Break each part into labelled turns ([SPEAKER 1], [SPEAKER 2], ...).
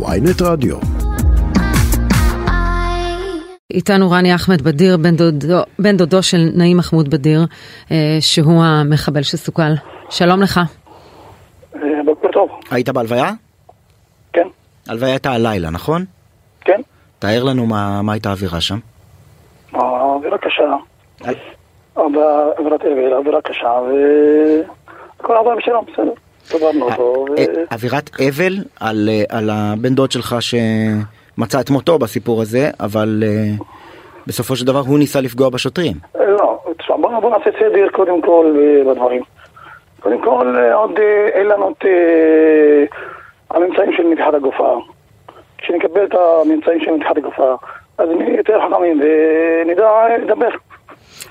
[SPEAKER 1] ויינט רדיו.
[SPEAKER 2] איתנו רני אחמד בדיר, בן דודו, בן דודו של נעים מחמוד בדיר, אה, שהוא המחבל שסוכל. שלום לך.
[SPEAKER 3] אה, בוקר טוב,
[SPEAKER 4] היית בהלוויה?
[SPEAKER 3] כן,
[SPEAKER 4] הלוויה הייתה הלילה, נכון?
[SPEAKER 3] כן.
[SPEAKER 4] תאר לנו מה, מה הייתה האווירה שם.
[SPEAKER 3] האווירה אה, קשה, אה,
[SPEAKER 4] אל-
[SPEAKER 3] אבל- אווירת אבל, אווירה קשה, וכל העולם שלו, בסדר. סברנו אותו, ו...
[SPEAKER 4] אה, אווירת אבל על, אה, על הבן דוד שלך שמצא את מותו בסיפור הזה, אבל אה, בסופו של דבר הוא ניסה לפגוע בשוטרים.
[SPEAKER 3] לא, תשמע, בוא בוא נעשה סדר קודם כל אה, בדברים. קודם כל, אה, עוד אה, אין לנו את אה, הממצאים של נתיחת הגופה. כשנקבל את הממצאים של נתיחת הגופה, אז נהיה יותר חכמים ונדע אה, לדבר.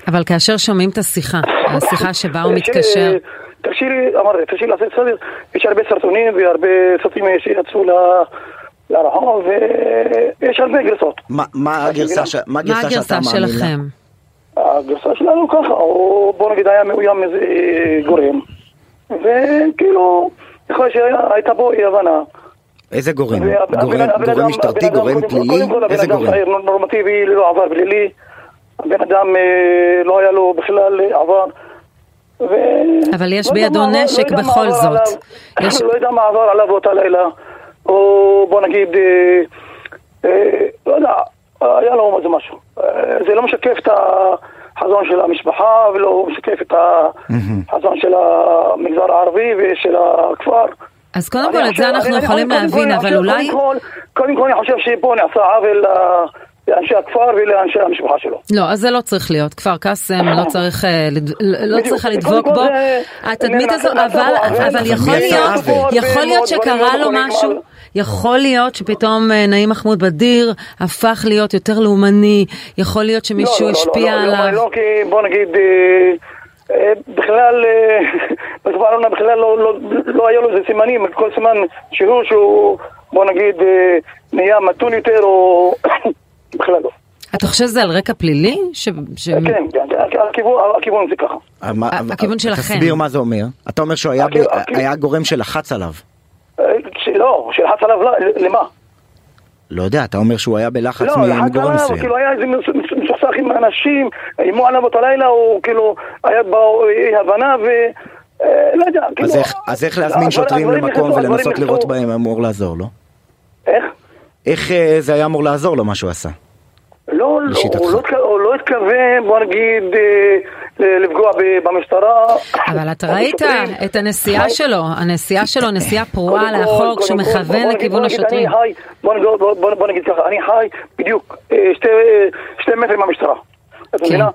[SPEAKER 2] אבל כאשר שומעים את השיחה, השיחה שבה הוא מתקשר,
[SPEAKER 3] תקשיבי, תקשיבי, אמר, תקשיבי לעשות סדר, יש הרבה סרטונים והרבה סרטים שיצאו ל- לרחוב, ויש הרבה גרסות.
[SPEAKER 4] מה, מה הגרסה, ש, מה
[SPEAKER 2] מה
[SPEAKER 4] הגרסה,
[SPEAKER 2] הגרסה
[SPEAKER 4] שאתה מאמין לה?
[SPEAKER 2] שלכם?
[SPEAKER 3] הגרסה שלנו ככה, הוא בוא נגיד היה מאוים מאיזה גורם, וכאילו, יכול להיות שהייתה בו אי הבנה.
[SPEAKER 4] איזה גורם?
[SPEAKER 3] והבן- הבן-
[SPEAKER 4] גורם,
[SPEAKER 3] הבן
[SPEAKER 4] גורם
[SPEAKER 3] אדם- הבן
[SPEAKER 4] משטרתי,
[SPEAKER 3] אדם
[SPEAKER 4] גורם
[SPEAKER 3] קודם כל-
[SPEAKER 4] פלילי?
[SPEAKER 3] קודם כל הבן
[SPEAKER 4] איזה
[SPEAKER 3] אדם
[SPEAKER 4] גורם?
[SPEAKER 3] צעיר נור- נורמטיבי, ללא עבר פלילי. הבן אדם אה, לא היה לו בכלל אה, עבר. ו...
[SPEAKER 2] אבל יש
[SPEAKER 3] לא יודע
[SPEAKER 2] בידו
[SPEAKER 3] מה- לא
[SPEAKER 2] נשק
[SPEAKER 3] יודע מה
[SPEAKER 2] בכל
[SPEAKER 3] עבר
[SPEAKER 2] זאת.
[SPEAKER 3] עליו-
[SPEAKER 2] יש-
[SPEAKER 3] לא יודע מה עבר עליו באותה לילה. או בוא נגיד, אה, אה, לא יודע, היה לו איזה משהו. אה, זה לא משקף את החזון של המשפחה ולא משקף את החזון של המגזר הערבי ושל הכפר.
[SPEAKER 2] אז קודם
[SPEAKER 3] אני
[SPEAKER 2] כל את
[SPEAKER 3] חושב-
[SPEAKER 2] זה אנחנו
[SPEAKER 3] אני-
[SPEAKER 2] יכולים
[SPEAKER 3] אני- קודם כל,
[SPEAKER 2] להבין,
[SPEAKER 3] אני
[SPEAKER 2] אבל
[SPEAKER 3] חושב-
[SPEAKER 2] אולי...
[SPEAKER 3] קודם כל- קודם כל אני חושב שפה נעשה עוול ל- לאנשי הכפר ולאנשי המשפחה שלו.
[SPEAKER 2] לא, אז זה לא צריך להיות. כפר קאסם לא צריך, אה, לד- לא
[SPEAKER 3] בדיוק.
[SPEAKER 2] צריכה
[SPEAKER 3] קודם
[SPEAKER 2] לדבוק
[SPEAKER 3] כל
[SPEAKER 2] בו.
[SPEAKER 3] זה-
[SPEAKER 2] התדמית
[SPEAKER 3] נעשה-
[SPEAKER 2] הזו,
[SPEAKER 3] נעשה
[SPEAKER 2] אבל
[SPEAKER 3] בו עוול.
[SPEAKER 2] אבל
[SPEAKER 4] אבל
[SPEAKER 2] יכול
[SPEAKER 4] מי עשה
[SPEAKER 2] להיות,
[SPEAKER 4] עוול?
[SPEAKER 2] יכול להיות שקרה לו משהו, יכול להיות שפתאום אה, נעים מחמוד בדיר הפך להיות יותר לאומני, יכול להיות שמישהו השפיע
[SPEAKER 3] לא, לא, לא,
[SPEAKER 2] עליו.
[SPEAKER 3] לא, כי בוא נגיד, אה, אה, בכלל, אה, בתקופה האחרונה בכלל לא- לא- לא היו לו איזה סימנים, כל סימן שהוא, שהוא, בוא נגיד, אה, נהיה מתון יותר, או בכלל לא.
[SPEAKER 2] אתה חושב שזה על רקע פלילי? ש- ש-
[SPEAKER 3] כן, כן, כן, הכיוון- הכיוון זה ככה.
[SPEAKER 4] אה, מה-
[SPEAKER 2] אה, הכיוון שלכם.
[SPEAKER 4] תסביר מה זה אומר. אתה אומר שהוא היה,
[SPEAKER 3] הכיוון-
[SPEAKER 4] ב-
[SPEAKER 3] הכיוון-
[SPEAKER 4] היה גורם שלחץ עליו.
[SPEAKER 3] אה, לא, שלחץ עליו, לא, למה?
[SPEAKER 4] לא יודע, אתה אומר שהוא היה בלחץ
[SPEAKER 3] לא,
[SPEAKER 4] מ-
[SPEAKER 3] לחץ
[SPEAKER 4] מגורם
[SPEAKER 3] עליו,
[SPEAKER 4] מסוים.
[SPEAKER 3] כאילו היה איזה מס- מס- מסוכסך עם אנשים, איימו עליו אותו לילה, הוא כאילו היה בו אי הבנה ו... אה, לא יודע, כאילו...
[SPEAKER 4] אז איך- אז איך להזמין
[SPEAKER 3] הדברים-
[SPEAKER 4] שוטרים
[SPEAKER 3] הדברים
[SPEAKER 4] למקום
[SPEAKER 3] נכנסו,
[SPEAKER 4] ולנסות
[SPEAKER 3] הדברים
[SPEAKER 4] לראות
[SPEAKER 3] נכנסו.
[SPEAKER 4] בהם אמור לעזור לו?
[SPEAKER 3] איך?
[SPEAKER 4] איך אה, זה היה אמור לעזור לו מה שהוא עשה?
[SPEAKER 3] לא, לא,
[SPEAKER 4] לשיטתך.
[SPEAKER 3] הוא לא התכ- הוא לא התכוון, בוא נגיד, אה, ל- לפגוע ב- במשטרה.
[SPEAKER 2] אבל אתה
[SPEAKER 3] או
[SPEAKER 2] ראית
[SPEAKER 3] בשוטרים.
[SPEAKER 2] את הנסיעה
[SPEAKER 3] חי-
[SPEAKER 2] שלו, הנסיעה שלו, נסיעה פרועה
[SPEAKER 3] קודם כל,
[SPEAKER 2] לאחור,
[SPEAKER 3] קודם
[SPEAKER 2] כשהוא
[SPEAKER 3] כל, בוא
[SPEAKER 2] מכוון
[SPEAKER 3] נגיד- בוא
[SPEAKER 2] לכיוון
[SPEAKER 3] נגיד,
[SPEAKER 2] השוטרים.
[SPEAKER 3] אני חי, בוא נגיד- בוא- בוא- בוא נגיד ככה, אני חי בדיוק אה, שתי- אה, שתי מטרים מהמשטרה.
[SPEAKER 2] כן.
[SPEAKER 3] את מבינה?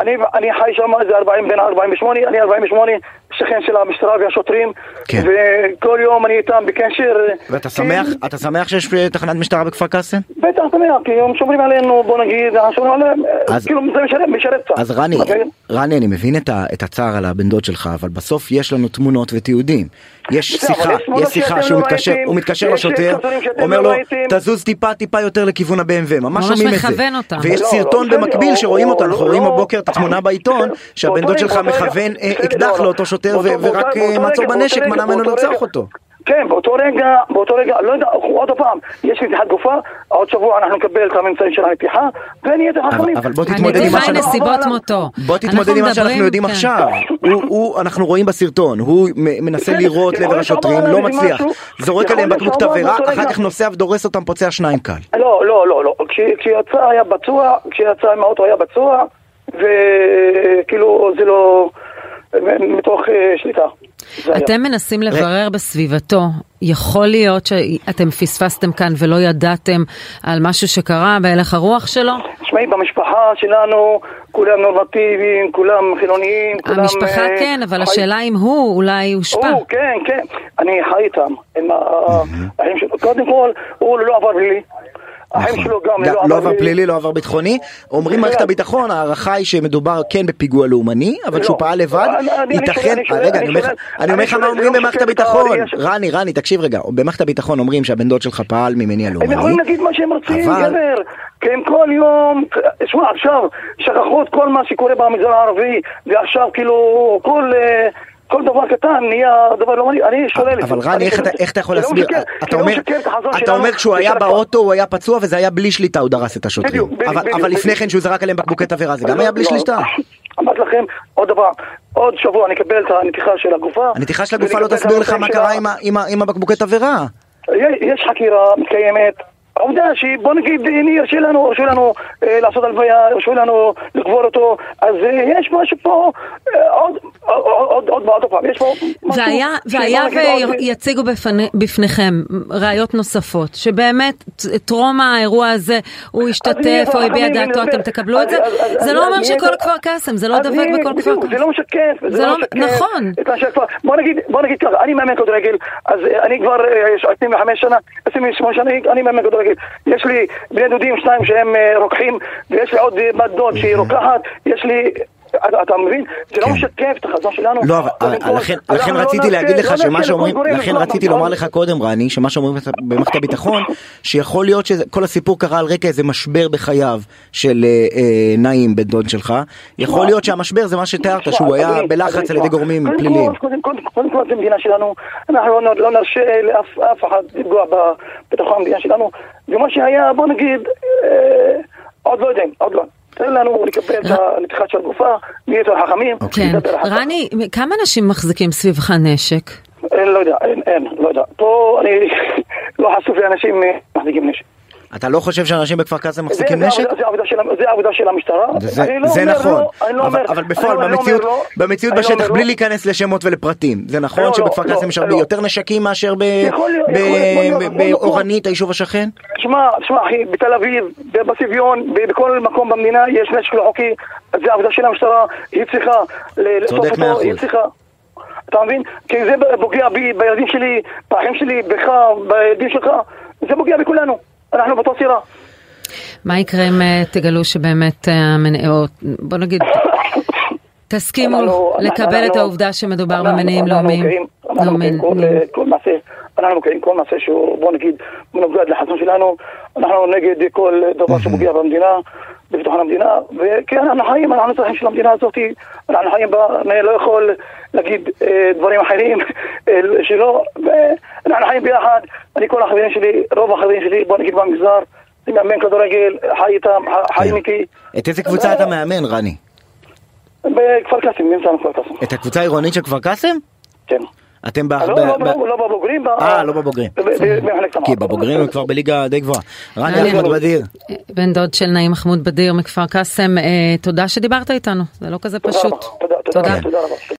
[SPEAKER 3] אני- אני חי שם איזה 40 בין 48, אני 48 שכן של המשטרה והשוטרים,
[SPEAKER 4] כן.
[SPEAKER 3] וכל יום אני איתם בקשר. אה,
[SPEAKER 4] ואתה
[SPEAKER 3] כי-
[SPEAKER 4] שמח, אתה שמח שיש אה, תחנת משטרה בכפר קאסם?
[SPEAKER 3] בטח, שמח, כי הם שומרים עלינו, בוא נגיד, אנחנו שומרים עליהם, אה,
[SPEAKER 4] אז-
[SPEAKER 3] כאילו זה משרת- משרת קצת.
[SPEAKER 4] אז רני,
[SPEAKER 3] אוקיי?
[SPEAKER 4] רני, אני מבין את ה- את הצער על הבן דוד שלך, אבל בסוף יש לנו תמונות ותיעודים. יש
[SPEAKER 3] בסדר, אבל
[SPEAKER 4] שיחה,
[SPEAKER 3] יש תמונות
[SPEAKER 4] יש שיחה
[SPEAKER 3] שאתם
[SPEAKER 4] שהוא
[SPEAKER 3] לא
[SPEAKER 4] מתקשר,
[SPEAKER 3] ראיתם,
[SPEAKER 4] הוא מתקשר
[SPEAKER 3] יש
[SPEAKER 4] לשוטר,
[SPEAKER 3] סרטונים שאתם
[SPEAKER 4] אומר
[SPEAKER 3] לא
[SPEAKER 4] לו,
[SPEAKER 3] ראיתם.
[SPEAKER 4] תזוז טיפה טיפה יותר לכיוון ה-BMV, ממש
[SPEAKER 2] ממש
[SPEAKER 4] שומעים את זה.
[SPEAKER 2] מכוון אותם.
[SPEAKER 4] ויש
[SPEAKER 3] לא,
[SPEAKER 4] סרטון
[SPEAKER 3] לא,
[SPEAKER 4] במקביל
[SPEAKER 3] לא,
[SPEAKER 4] שרואים
[SPEAKER 3] לא,
[SPEAKER 4] אותו, אנחנו
[SPEAKER 3] לא,
[SPEAKER 4] רואים
[SPEAKER 3] לא.
[SPEAKER 4] בבוקן את התמונה בעיתון, שהבן
[SPEAKER 3] באותו
[SPEAKER 4] דוד
[SPEAKER 3] רגע,
[SPEAKER 4] שלך
[SPEAKER 3] באותו רגע,
[SPEAKER 4] מכוון אה,
[SPEAKER 3] בסדר, לא,
[SPEAKER 4] אקדח
[SPEAKER 3] לא.
[SPEAKER 4] לאותו שוטר
[SPEAKER 3] באותו-
[SPEAKER 4] ו- ורק
[SPEAKER 3] באותו
[SPEAKER 4] אה,
[SPEAKER 3] רגע,
[SPEAKER 4] מצור
[SPEAKER 3] באותו
[SPEAKER 4] בנשק
[SPEAKER 3] רגע,
[SPEAKER 4] מנע ממנו
[SPEAKER 3] באותו
[SPEAKER 4] לרצוח
[SPEAKER 3] רגע.
[SPEAKER 4] אותו.
[SPEAKER 3] כן, באותו רגע, באותו רגע, לא יודע, עוד פעם, יש נתיחת גופה, עוד שבוע אנחנו נקבל את הממצאים של הנתיחה, ונהיה יותר
[SPEAKER 4] אבל
[SPEAKER 3] חכמים.
[SPEAKER 4] אבל בוא
[SPEAKER 2] אני
[SPEAKER 4] תתמודד עם מה
[SPEAKER 2] בטוחה עם
[SPEAKER 4] שאנחנו...
[SPEAKER 2] נסיבות מותו.
[SPEAKER 4] בוא תתמודד עם מה שאנחנו יודעים עכשיו. הוא, הוא, אנחנו רואים בסרטון, הוא מ- מנסה
[SPEAKER 3] בסדר,
[SPEAKER 4] לירות
[SPEAKER 3] יכול
[SPEAKER 4] לעבר
[SPEAKER 3] להיות שהוא
[SPEAKER 4] השוטרים,
[SPEAKER 3] עבר
[SPEAKER 4] לא
[SPEAKER 3] עליו איזה
[SPEAKER 4] מצליח.
[SPEAKER 3] משהו, לא
[SPEAKER 4] זורק
[SPEAKER 3] יכול
[SPEAKER 4] עליהם
[SPEAKER 3] להיות
[SPEAKER 4] בקבוק
[SPEAKER 3] שהוא עבר
[SPEAKER 4] תבערה,
[SPEAKER 3] באותו
[SPEAKER 4] אחר
[SPEAKER 3] רגע.
[SPEAKER 4] כך נוסע ודורס אותם, פוצע שניים קל.
[SPEAKER 3] לא, לא, לא, לא. כש- כשיצא היה פצוע, כשיצא עם האוטו היה פצוע, וכאילו זה לא... מתוך אה, שליטה. זה היה.
[SPEAKER 2] אתם מנסים לברר בסביבתו, יכול להיות שאתם פספסתם כאן ולא ידעתם על משהו שקרה בהלך הרוח שלו?
[SPEAKER 3] תשמעי, במשפחה שלנו כולם נורמטיביים, כולם חילוניים, כולם...
[SPEAKER 2] המשפחה
[SPEAKER 3] אה,
[SPEAKER 2] כן, אבל
[SPEAKER 3] חיים-
[SPEAKER 2] השאלה אם הוא אולי הושפע.
[SPEAKER 3] הוא, כן, כן. אני חי איתם, עם ה- האחים שלו. קודם כל, הוא לא עבר פלילי. האחים שלו גם
[SPEAKER 4] גם-
[SPEAKER 3] לא
[SPEAKER 4] נכון. לא עבר פלילי, לא עבר ביטחוני. אומרים מערכת
[SPEAKER 3] בכלל.
[SPEAKER 4] הביטחון, ההערכה היא שמדובר כן בפיגוע לאומני, אבל
[SPEAKER 3] לא.
[SPEAKER 4] שהוא פעל לבד,
[SPEAKER 3] אני- אני- אני
[SPEAKER 4] ייתכן...
[SPEAKER 3] שואל, אני שואל,
[SPEAKER 4] רגע,
[SPEAKER 3] אני
[SPEAKER 4] אני אומר לך-
[SPEAKER 3] שואל,
[SPEAKER 4] אני אומר
[SPEAKER 3] אני
[SPEAKER 4] לך מה
[SPEAKER 3] שואל,
[SPEAKER 4] אומרים
[SPEAKER 3] זה לא
[SPEAKER 4] במערכת
[SPEAKER 3] שופט
[SPEAKER 4] הביטחון.
[SPEAKER 3] העלייה של-
[SPEAKER 4] רני, רני, תקשיב רגע, במערכת הביטחון אומרים שהבן דוד שלך פעל ממניע
[SPEAKER 3] הם
[SPEAKER 4] לאומני.
[SPEAKER 3] יכולים להגיד מה שהם רוצים,
[SPEAKER 4] אוקיי. אבל-
[SPEAKER 3] גבר, כי הם כל יום, שמע, עכשיו שכחו את כל מה שקורה במגזר הערבי, ועכשיו כאילו כל... אה, כל דבר קטן נהיה דבר לא מעניין, אני שולל את זה.
[SPEAKER 4] אבל רני,
[SPEAKER 3] אני
[SPEAKER 4] איך
[SPEAKER 3] שולל
[SPEAKER 4] אתה-
[SPEAKER 3] את זה.
[SPEAKER 4] איך אתה יכול
[SPEAKER 3] כי לא
[SPEAKER 4] להסביר?
[SPEAKER 3] משקף-
[SPEAKER 4] אתה
[SPEAKER 3] כי לא
[SPEAKER 4] אומר-
[SPEAKER 3] משקף את החזון
[SPEAKER 4] אתה
[SPEAKER 3] שלנו
[SPEAKER 4] אומר כשהוא היה
[SPEAKER 3] ושל הכפר.
[SPEAKER 4] באוטו הוא היה פצוע וזה היה בלי שליטה הוא דרס את השוטרים.
[SPEAKER 3] בדיוק, בדיוק,
[SPEAKER 4] אבל-
[SPEAKER 3] בדיוק.
[SPEAKER 4] אבל לפני כן שהוא זרק עליהם בקבוקי תבערה זה גם
[SPEAKER 3] לא-
[SPEAKER 4] היה בלי
[SPEAKER 3] לא.
[SPEAKER 4] שליטה.
[SPEAKER 3] אמרתי לכם, עוד דבר, עוד שבוע נקבל את הנתיחה של הגופה.
[SPEAKER 4] הנתיחה של הגופה לא
[SPEAKER 3] ונקבל את
[SPEAKER 4] תסביר לך מה
[SPEAKER 3] הנתונים
[SPEAKER 4] קרה
[SPEAKER 3] של
[SPEAKER 4] עם ה- עם ה- עם הבקבוקי תבערה.
[SPEAKER 3] ה- יש חקירה מתקיימת. העובדה שהיא, בוא נגיד, הנה, הרשו לנו, הרשו לנו אה, לעשות הלוויה, הרשו לנו לקבור אותו, אז אה, יש משהו פה, אה, עוד, עוד, עוד, עוד, עוד פעם, יש פה משהו...
[SPEAKER 2] והיה,
[SPEAKER 3] שבוא
[SPEAKER 2] והיה
[SPEAKER 3] נגיד עוד-
[SPEAKER 2] ויציגו בפניכם ראיות נוספות, שבאמת ט- טרום האירוע הזה הוא השתתף או הביע
[SPEAKER 3] חכמים,
[SPEAKER 2] דעתו,
[SPEAKER 3] אני
[SPEAKER 2] אתם
[SPEAKER 3] מדבר.
[SPEAKER 2] תקבלו את זה?
[SPEAKER 3] אז- אז-
[SPEAKER 2] זה
[SPEAKER 3] אז-
[SPEAKER 2] לא
[SPEAKER 3] אז
[SPEAKER 2] אומר
[SPEAKER 3] יהיה
[SPEAKER 2] שכל
[SPEAKER 3] את-
[SPEAKER 2] כפר קסם, זה לא
[SPEAKER 3] אז
[SPEAKER 2] דבק
[SPEAKER 3] יהיה-
[SPEAKER 2] בכל כפר
[SPEAKER 3] בדיוק, זה
[SPEAKER 2] קסם.
[SPEAKER 3] לא משקף,
[SPEAKER 2] זה
[SPEAKER 3] זה
[SPEAKER 2] לא-
[SPEAKER 3] לא משקף.
[SPEAKER 2] נכון.
[SPEAKER 3] את אנשי הכפר. בוא נגיד, בוא נגיד ככה, אני מאמן כדורגל, אז אה, אני כבר אה, יש 25 שנה, 28 שנה, אני- אני מאמן כדורגל. יש לי בני דודים, שניים שהם אה, רוקחים, ויש לי עוד אה, בת דוד שהיא רוקחת, יש לי... אתה אתה מבין? זה לא
[SPEAKER 4] אוקיי. כן.
[SPEAKER 3] משקף את החזון שלנו.
[SPEAKER 4] לא, אבל
[SPEAKER 3] קודם כל,
[SPEAKER 4] לכן-
[SPEAKER 3] אנחנו
[SPEAKER 4] לכן
[SPEAKER 3] לא
[SPEAKER 4] רציתי
[SPEAKER 3] נעשה-
[SPEAKER 4] להגיד
[SPEAKER 3] לא
[SPEAKER 4] לך
[SPEAKER 3] נעשה
[SPEAKER 4] שמה
[SPEAKER 3] לכל
[SPEAKER 4] שאומרים,
[SPEAKER 3] גורם
[SPEAKER 4] לכן
[SPEAKER 3] אזרח,
[SPEAKER 4] רציתי
[SPEAKER 3] נכון?
[SPEAKER 4] לומר לך קודם, רני, שמה שאומרים במערכת הביטחון, שיכול להיות שכל הסיפור קרה על רקע איזה משבר בחייו של אה, אה, נעים, בן דוד שלך, יכול להיות שהמשבר זה מה שתיארת,
[SPEAKER 3] תשמע,
[SPEAKER 4] שהוא היה
[SPEAKER 3] אדוני, אדוני,
[SPEAKER 4] בלחץ על ידי
[SPEAKER 3] תשמע,
[SPEAKER 4] גורמים
[SPEAKER 3] קודם
[SPEAKER 4] פליליים.
[SPEAKER 3] כל, קודם כל, קודם כל, זו המדינה שלנו, אנחנו לא- לא נרשה לאף אף אחד לפגוע ב- בתוך המדינה שלנו, ומה שהיה, בוא נגיד, אה, עוד לא יודעים, עוד לא. תן לנו לקבל את הנתיחה של הגופה, נהיה יותר חכמים.
[SPEAKER 2] כן.
[SPEAKER 3] נדבר אחר כך.
[SPEAKER 2] רני, כמה אנשים מחזיקים סביבך נשק?
[SPEAKER 3] אה, לא יודע, אין, אין, לא יודע. פה אני לא חשוף לאנשים אה, מחזיקים נשק.
[SPEAKER 4] אתה לא חושב שאנשים בכפר קאסם
[SPEAKER 3] זה-
[SPEAKER 4] מחזיקים
[SPEAKER 3] זה
[SPEAKER 4] נשק?
[SPEAKER 3] העבודה- זה העבודה של ה- זה העבודה של המשטרה.
[SPEAKER 4] זה,
[SPEAKER 3] אה, לא, אני לא
[SPEAKER 4] זה
[SPEAKER 3] אומר
[SPEAKER 4] נכון,
[SPEAKER 3] לא, אני לא
[SPEAKER 4] אבל,
[SPEAKER 3] אומר-
[SPEAKER 4] אבל בפועל,
[SPEAKER 3] אני לא- אני לא אומר
[SPEAKER 4] במציאות,
[SPEAKER 3] לא,
[SPEAKER 4] במציאות
[SPEAKER 3] אני לא
[SPEAKER 4] בשטח,
[SPEAKER 3] אומר
[SPEAKER 4] בלי
[SPEAKER 3] לא.
[SPEAKER 4] להיכנס לשמות ולפרטים, זה נכון
[SPEAKER 3] לא,
[SPEAKER 4] שבכפר
[SPEAKER 3] לא,
[SPEAKER 4] קאסם יש הרבה
[SPEAKER 3] לא.
[SPEAKER 4] יותר נשקים מאשר ב-
[SPEAKER 3] יכול להיות,
[SPEAKER 4] ב-
[SPEAKER 3] יכול להיות, לא
[SPEAKER 4] ב-
[SPEAKER 3] יכול להיות.
[SPEAKER 4] באורנית, היישוב השכן?
[SPEAKER 3] תשמע, תשמע אחי, בתל אביב, בסביון, ב- בכל מקום במדינה יש נשק לא חוקי, אז זה העבודה של המשטרה, היא צריכה ל- לאסוף
[SPEAKER 4] צודק מאה
[SPEAKER 3] אותו, היא
[SPEAKER 4] אחוז.
[SPEAKER 3] צריכה... אתה מבין? כי זה פוגע בי, בילדים שלי, באחים שלי, בך, בילדים שלך, זה פוגע בכולנו, אנחנו באותה סירה.
[SPEAKER 2] מה יקרה אם אה, תגלו שבאמת, אה, המנ- או בוא נגיד, תסכימו
[SPEAKER 3] אנחנו-
[SPEAKER 2] לקבל
[SPEAKER 3] לא- אנחנו-
[SPEAKER 2] את העובדה שמדובר
[SPEAKER 3] אנחנו-
[SPEAKER 2] במניעים
[SPEAKER 3] אנחנו
[SPEAKER 2] לאומיים? לא
[SPEAKER 3] מוקיעים- אנחנו מוקיעים כל- אה,
[SPEAKER 2] לאומיים.
[SPEAKER 3] כל מעשה, אנחנו מוקיעים כל מעשה שהוא, בוא נגיד, מנוגד לחזון שלנו, אנחנו נגד כל דבר שפוגע במדינה, בביטחון המדינה, וכן, אנחנו חיים, אנחנו אזרחים של המדינה הזאת, אנחנו חיים בה, אני לא יכול להגיד אה, דברים אחרים אה, שלא, ואנחנו חיים ביחד, אני כל החברים שלי, רוב החברים שלי, בוא נגיד במגזר, אני מאמן כדורגל, חי איתם, חיים איתי.
[SPEAKER 4] כן. את איזה קבוצה
[SPEAKER 3] לא.
[SPEAKER 4] אתה מאמן, רני?
[SPEAKER 3] בכפר קאסם, נמצא בכפר קאסם,
[SPEAKER 4] את הקבוצה העירונית של כפר קאסם?
[SPEAKER 3] כן.
[SPEAKER 4] אתם ב...
[SPEAKER 3] לא,
[SPEAKER 4] ב-
[SPEAKER 3] לא,
[SPEAKER 4] ב-
[SPEAKER 3] לא, לא בבוגרים. ב-
[SPEAKER 4] אה, לא בבוגרים.
[SPEAKER 3] ב- ב- במחלקת
[SPEAKER 4] כי
[SPEAKER 3] המערב.
[SPEAKER 4] בבוגרים הם כבר בליגה די גבוהה.
[SPEAKER 2] אה,
[SPEAKER 4] רני אחמד
[SPEAKER 3] לא.
[SPEAKER 4] בדיר,
[SPEAKER 2] בן דוד של נעים מחמוד בדיר מכפר קאסם, אה, תודה שדיברת איתנו, זה לא כזה
[SPEAKER 3] תודה
[SPEAKER 2] פשוט.
[SPEAKER 3] רבה, תודה, תודה, תודה רבה.